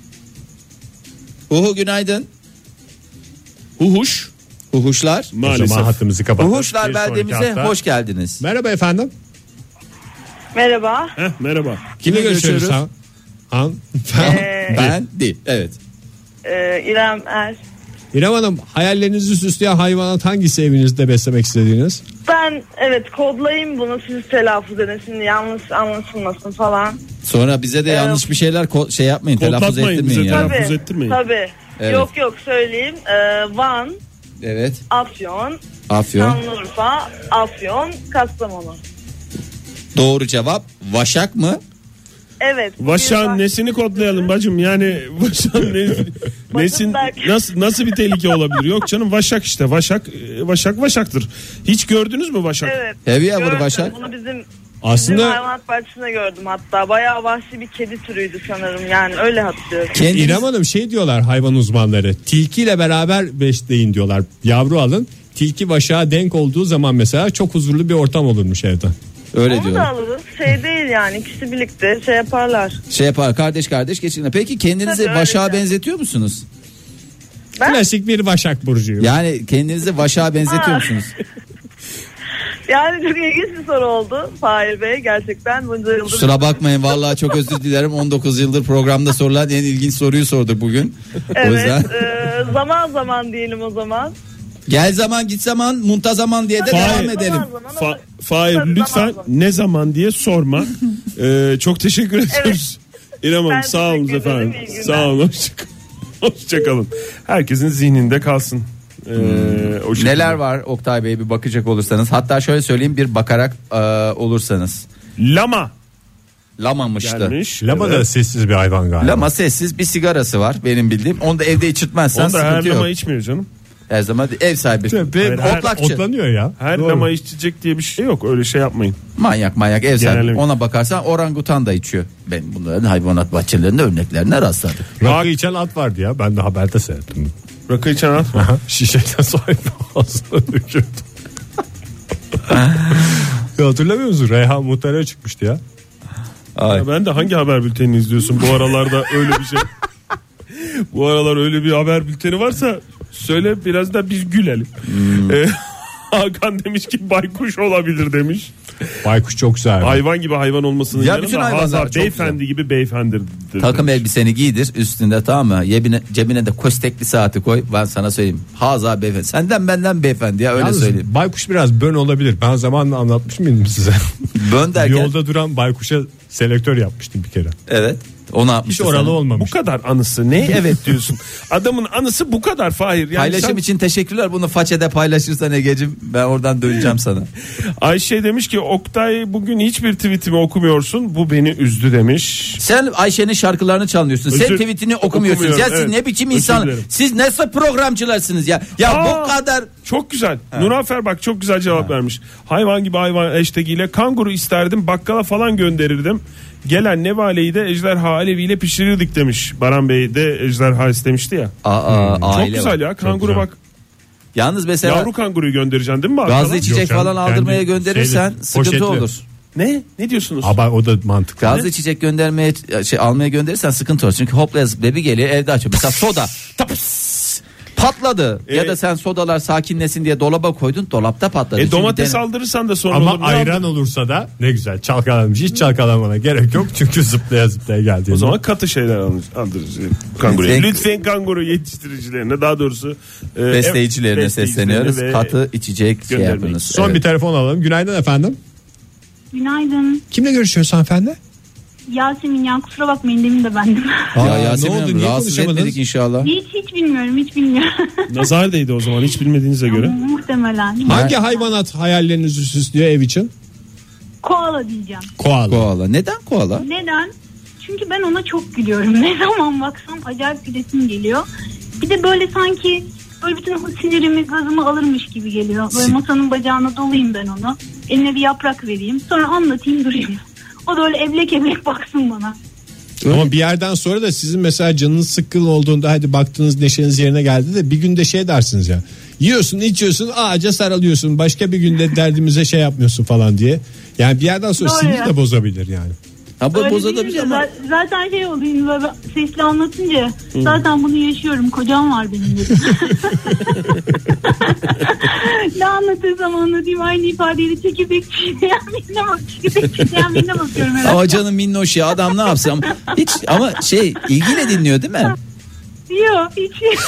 Speaker 3: Uhu günaydın.
Speaker 4: Huhuş
Speaker 3: Uhuşlar.
Speaker 2: O zaman
Speaker 4: maalesef.
Speaker 2: hattımızı kapattık.
Speaker 3: Uhuşlar
Speaker 2: Bir sonraki
Speaker 3: beldemize
Speaker 2: hafta-
Speaker 3: hoş geldiniz.
Speaker 2: Merhaba efendim.
Speaker 6: Merhaba.
Speaker 4: Heh, merhaba.
Speaker 2: Kimle görüşüyoruz?
Speaker 3: görüşüyoruz?
Speaker 2: Han- Han-
Speaker 6: Ee,
Speaker 3: Ben değil. Evet.
Speaker 6: e, İrem Er.
Speaker 2: İrem Hanım hayallerinizi süsleyen hayvanat hangisi evinizde beslemek istediğiniz?
Speaker 6: Ben evet kodlayayım bunu siz telaffuz edin şimdi yanlış anlaşılmasın falan.
Speaker 3: Sonra bize de yanlış bir şeyler ko- şey yapmayın. Telaffuz
Speaker 4: Kodlatmayın
Speaker 3: ettirmeyin
Speaker 4: bize,
Speaker 3: ya.
Speaker 4: telaffuz-
Speaker 6: Tabii.
Speaker 4: ettirmeyin.
Speaker 6: Tabii.
Speaker 3: Evet.
Speaker 6: Yok yok söyleyeyim. Ee, Van,
Speaker 3: Evet.
Speaker 6: Afyon,
Speaker 3: Afyon.
Speaker 6: Şanlıurfa, Afyon, Kastamonu.
Speaker 3: Doğru cevap Vaşak mı?
Speaker 6: Evet.
Speaker 4: Vaşan nesini kodlayalım bacım yani Vaşan ne, nesin
Speaker 6: Berk.
Speaker 4: nasıl nasıl bir tehlike olabilir? Yok canım Vaşak işte Vaşak e, Vaşak Vaşak'tır. Hiç gördünüz mü Vaşak?
Speaker 6: Evet.
Speaker 3: Heavy hour
Speaker 6: Gördüm.
Speaker 3: Başak.
Speaker 6: Bunu bizim
Speaker 2: Aslında-
Speaker 6: Bizim hayvanat bahçesinde gördüm hatta. Bayağı vahşi bir kedi türüydü sanırım yani öyle hatırlıyorum.
Speaker 3: Kendiniz-
Speaker 2: İrem Hanım şey diyorlar hayvan uzmanları. Tilkiyle beraber besleyin diyorlar. Yavru alın. Tilki başa denk olduğu zaman mesela çok huzurlu bir ortam olurmuş evde.
Speaker 3: Öyle
Speaker 6: Onu
Speaker 3: diyor.
Speaker 6: da alırız. Şey değil yani ikisi birlikte şey yaparlar.
Speaker 3: Şey yapar kardeş kardeş geçinir. Peki kendinizi
Speaker 6: Tabii, öyle
Speaker 3: Vaşak'a
Speaker 6: yani.
Speaker 3: benzetiyor musunuz?
Speaker 6: Ben-
Speaker 2: Klasik bir Başak burcuyum.
Speaker 3: Yani kendinizi Vaşak'a benzetiyor
Speaker 6: Ha.
Speaker 3: musunuz?
Speaker 6: Yani çok ilginç bir soru oldu Fahir Bey. Gerçekten bunca yıldır.
Speaker 3: Kusura bakmayın vallahi çok özür dilerim. 19 yıldır programda sorulan en ilginç soruyu sorduk bugün. O yüzden
Speaker 6: Evet. e, zaman zaman diyelim o zaman.
Speaker 3: gel zaman git zaman munta zaman diye de
Speaker 4: Fahir.
Speaker 3: devam edelim.
Speaker 6: Zaman zaman
Speaker 4: Fa-
Speaker 6: olur.
Speaker 4: Fahir
Speaker 6: Tabii,
Speaker 4: lütfen
Speaker 6: zaman zaman.
Speaker 4: ne zaman diye sorma. Ee, çok teşekkür ediyoruz. İrem Hanım
Speaker 6: Ben
Speaker 4: sağ olun
Speaker 6: teşekkür ederim,
Speaker 4: efendim.
Speaker 6: iyi günler.
Speaker 4: Sağ olun hoşçakalın. Hoşçakalın. Herkesin zihninde kalsın. Ee, o şekilde.
Speaker 3: Neler var Oktay Bey bir bakacak olursanız. Hatta şöyle söyleyeyim bir bakarak e, olursanız.
Speaker 4: Lama
Speaker 3: Lamamıştı.
Speaker 4: gelmiş.
Speaker 2: Lama da
Speaker 4: Evet.
Speaker 2: sessiz bir hayvan galiba.
Speaker 3: Lama sessiz bir sigarası var benim bildiğim. Onu da evde içirtmezsen
Speaker 4: Onu da her
Speaker 3: sıkıntı yok.
Speaker 4: lama içmiyor canım.
Speaker 3: Her zaman ev sahibi.
Speaker 4: Hayır, her-
Speaker 3: Otlakçı.
Speaker 2: Otlanıyor ya.
Speaker 4: Her
Speaker 2: Doğru.
Speaker 4: lama içecek diye bir şey yok. Öyle şey yapmayın.
Speaker 3: Manyak manyak ev sahibi.
Speaker 4: Genelde-
Speaker 3: Ona bakarsan orangutan da içiyor. Ben bunların hayvanat bahçelerinde örneklerine rastladım.
Speaker 2: Rakı içen at vardı ya. Ben de haberde seyrettim.
Speaker 4: Rakı içen at.
Speaker 2: Şişeden sahibi ağzına döküldü. ya E, hatırlamıyor musun? Reyhan Muhtar'a çıkmıştı ya.
Speaker 4: Ya ben de hangi haber bültenini izliyorsun bu aralarda öyle bir şey. bu aralar öyle bir haber bülteni varsa söyle biraz da biz gülelim.
Speaker 3: Hmm.
Speaker 4: Ee, Hakan demiş ki baykuş olabilir demiş.
Speaker 2: Baykuş çok güzel.
Speaker 4: Hayvan gibi hayvan olmasının
Speaker 3: Ya
Speaker 4: yanında
Speaker 3: bütün hayvanlar
Speaker 4: Hazar
Speaker 3: çok
Speaker 4: beyefendi gibi beyefendidir.
Speaker 3: Takım elbiseni giydir üstünde tamam mı? Cebine, cebine de kostekli saati koy. Ben sana söyleyeyim. Haza beyefendi. Senden benden beyefendi ya öyle
Speaker 2: Yalnız
Speaker 3: söyleyeyim.
Speaker 2: Baykuş biraz bön olabilir. Ben zamanla anlatmış mıydım size?
Speaker 3: Bön derken.
Speaker 2: Yolda duran baykuşa selektör yapmıştım bir kere.
Speaker 3: Evet. Onu yapmış.
Speaker 2: Hiç oralı
Speaker 4: Bu
Speaker 2: olmamış.
Speaker 4: kadar anısı ne? Evet diyorsun. Adamın anısı bu kadar Fahir. Yani
Speaker 3: Paylaşım
Speaker 4: sen-
Speaker 3: için teşekkürler. Bunu façede paylaşırsan Ege'cim ben oradan döneceğim sana.
Speaker 4: Ayşe demiş ki Oktay bugün hiçbir tweetimi okumuyorsun. Bu beni üzdü demiş.
Speaker 3: Sen Ayşe'nin şarkılarını çalıyorsun. Sen
Speaker 4: Özür-
Speaker 3: tweetini okumuyorsun. Ya
Speaker 4: okumuyorum,
Speaker 3: siz
Speaker 4: evet.
Speaker 3: ne biçim
Speaker 4: Özür
Speaker 3: insan?
Speaker 4: dilerim.
Speaker 3: Siz nasıl programcılarsınız ya? Ya
Speaker 4: Aa!
Speaker 3: bu kadar
Speaker 4: Çok güzel. Nurafer bak çok güzel cevap vermiş. Hayvan gibi hayvan hashtag ile kanguru isterdim bakkala falan gönderirdim. Gelen nevaleyi de ejderha aleviyle pişirirdik demiş. Baran Bey de ejderha istemişti ya.
Speaker 3: Aa, aile
Speaker 4: Hmm, çok güzel
Speaker 3: var.
Speaker 4: ya kanguru
Speaker 2: güzel.
Speaker 4: bak.
Speaker 3: Yalnız mesela
Speaker 4: Yavru kanguruyu göndereceksin değil mi? bakkala?
Speaker 3: gazlı içecek
Speaker 2: Yok canım,
Speaker 3: falan aldırmaya
Speaker 2: kendi
Speaker 3: gönderirsen
Speaker 2: şeyle,
Speaker 3: sıkıntı
Speaker 2: poşetle.
Speaker 3: olur.
Speaker 4: Ne? Ne diyorsunuz?
Speaker 2: Ama o da mantıklı.
Speaker 3: Gazlı içecek göndermeye şey almaya gönderirsen sıkıntı olur. Çünkü hopla yazıp bebi geliyor evde açıyor. Mesela soda. Taps! patladı. ya
Speaker 4: E-
Speaker 3: da sen sodalar sakinlesin diye dolaba koydun. Dolapta patladı.
Speaker 4: E
Speaker 3: Şimdi
Speaker 4: domates
Speaker 3: dene-
Speaker 4: aldırırsan da sonra olur.
Speaker 2: Ama
Speaker 4: Ne
Speaker 2: ayran olursa da ne güzel çalkalanmış. Hiç çalkalamana gerek yok çünkü zıplaya zıplaya geldi.
Speaker 4: O zaman katı şeyler alınır- aldırırız yani kanguruya.
Speaker 3: Lütfen-
Speaker 4: Lütfen kanguru yetiştiricilerine daha doğrusu e,
Speaker 3: Besleyicilerine
Speaker 4: ev-
Speaker 3: sesleniyoruz.
Speaker 4: besleyicilerine ve-
Speaker 3: Katı içecek şey
Speaker 4: göndermeyin.
Speaker 3: yapınız.
Speaker 2: Son
Speaker 3: Evet.
Speaker 2: bir telefon alalım. Günaydın efendim.
Speaker 7: Günaydın.
Speaker 2: Kimle görüşüyoruz hanımefendi?
Speaker 7: Yasemin ya kusura bakmayın demin de bendim.
Speaker 2: Aa,
Speaker 3: Ya Yasemin
Speaker 2: ne oldu,
Speaker 3: Hanım
Speaker 2: niye
Speaker 3: rahatsız
Speaker 2: konuşamadınız?
Speaker 3: etmedik inşallah.
Speaker 7: hiç hiç bilmiyorum hiç bilmiyorum.
Speaker 4: Nazar değdi o zaman hiç bilmediğinize göre.
Speaker 7: Muhtemelen.
Speaker 2: Hangi hayvanat hayallerinizi süslüyor ev için?
Speaker 7: Koala diyeceğim.
Speaker 2: Koala.
Speaker 3: Koala. Neden koala?
Speaker 7: Neden? Çünkü ben ona çok gülüyorum. Ne zaman baksam acayip gülesim geliyor. Bir de böyle sanki böyle bütün o sinirimi gazımı alırmış gibi geliyor. Böyle
Speaker 3: Sin-
Speaker 7: masanın bacağına dolayayım ben onu. Eline bir yaprak vereyim. Sonra anlatayım durayım. O da öyle eblek eblek baksın bana.
Speaker 2: Ama bir yerden sonra da sizin mesela canınız sıkkın olduğunda hadi baktınız neşeniz yerine geldi de bir günde şey dersiniz ya. Yiyorsun içiyorsun ağaca sarılıyorsun başka bir günde derdimize şey yapmıyorsun falan diye. Yani bir yerden sonra
Speaker 7: Doğru
Speaker 2: sinir
Speaker 7: ya.
Speaker 2: de bozabilir yani.
Speaker 3: Ha bu
Speaker 7: Öyle
Speaker 3: bozulabilir
Speaker 7: deyince
Speaker 3: ama.
Speaker 7: za- Zaten şey olayım böyle sesli anlatınca zaten bunu yaşıyorum kocam var benim dedim. ne anlatırsam anlatayım aynı ifadeyle çekirdek çiğneyen birine bak çekirdek çiğneyen birine bakıyorum herhalde.
Speaker 3: Ama canım minnoş ya adam ne yapsam hiç ama şey ilgiyle dinliyor değil mi?
Speaker 7: Yok hiç.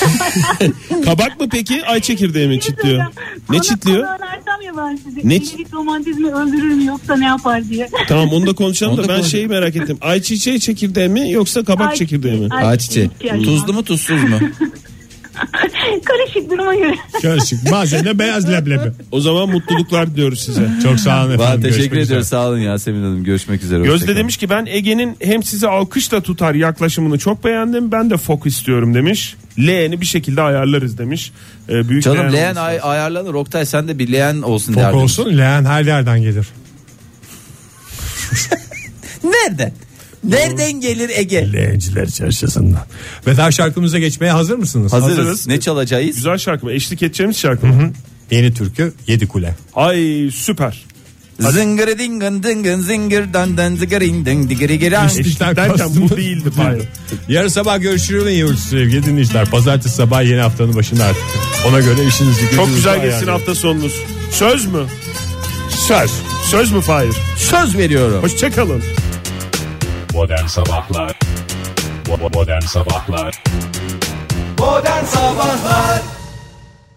Speaker 4: Kabak mı peki? Ay çekirdeği mi çitliyor? Ne
Speaker 7: Bana-
Speaker 4: çitliyor?
Speaker 7: bana ararsam ya ben sizi.
Speaker 4: Ne
Speaker 7: Ne?
Speaker 4: çi-
Speaker 7: romantizmi öldürür mü yoksa ne yapar diye.
Speaker 4: Tamam onu da konuşalım
Speaker 3: Onu
Speaker 4: da
Speaker 3: da
Speaker 4: ben
Speaker 3: konuş-
Speaker 4: şeyi merak ettim. Ay çiçeği çekirdeği mi yoksa kabak
Speaker 7: Ay-
Speaker 4: çekirdeği mi?
Speaker 7: Ay-
Speaker 3: Ağaç çiçeği.
Speaker 7: ihtiyacım
Speaker 3: Tuzlu
Speaker 7: var.
Speaker 3: mu tuzsuz mu?
Speaker 7: Karışık duruma göre.
Speaker 2: Karışık bazen de beyaz leblebi.
Speaker 4: O zaman mutluluklar diliyoruz size.
Speaker 2: Çok sağ
Speaker 3: Valla
Speaker 2: olun efendim.
Speaker 3: teşekkür
Speaker 2: Görüşmek üzere.
Speaker 3: ediyoruz sağ olun Yasemin Hanım görüşmek üzere. hoşça
Speaker 4: Gözde
Speaker 3: kalın.
Speaker 4: demiş ki ben Ege'nin hem sizi alkışla tutar yaklaşımını çok beğendim. Ben de fok istiyorum demiş. Leğeni bir şekilde ayarlarız demiş. Ee, büyük
Speaker 3: Canım leğen
Speaker 4: olması-
Speaker 3: ay- ayarlanır Oktay sen de bir leğen olsun
Speaker 2: Fok
Speaker 3: derdin.
Speaker 2: olsun leğen her yerden gelir.
Speaker 3: Nereden? Nereden gelir Ege?
Speaker 2: Leğenciler çarşısından. Veda şarkımıza geçmeye hazır mısınız?
Speaker 3: Hazırız.
Speaker 4: Hazırız.
Speaker 3: Ne çalacağız?
Speaker 4: Güzel şarkı mı? Eşlik edeceğimiz şarkı mı?
Speaker 2: Yeni türkü Yedi Kule.
Speaker 4: Ay süper.
Speaker 3: Zıngırı dingın dingın zıngır dandan zıgırın ding digiri giran.
Speaker 4: Derken
Speaker 2: kastımız-
Speaker 4: bu değildi Fahir.
Speaker 2: Yarın sabah görüşürüz yiyoruz sevgili dinleyiciler. Pazartesi sabah yeni haftanın başında artık. Ona göre işinizi
Speaker 4: Çok
Speaker 2: gücünüzü
Speaker 4: güzel
Speaker 2: ayarlayın.
Speaker 4: geçsin hafta sonunuz. Söz mü? Söz. Söz mü Fahir?
Speaker 3: Söz veriyorum.
Speaker 4: Hoşçakalın.
Speaker 8: Modern Sabahlar Bo- Modern Sabahlar
Speaker 1: Modern Sabahlar